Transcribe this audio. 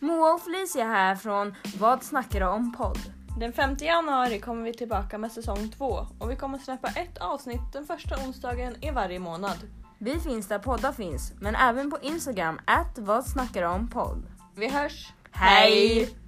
Moa och Felicia här från Vad snackar du om podd? Den 5 januari kommer vi tillbaka med säsong 2 och vi kommer släppa ett avsnitt den första onsdagen i varje månad. Vi finns där poddar finns, men även på Instagram, att vad snackar du om podd? Vi hörs! Hej!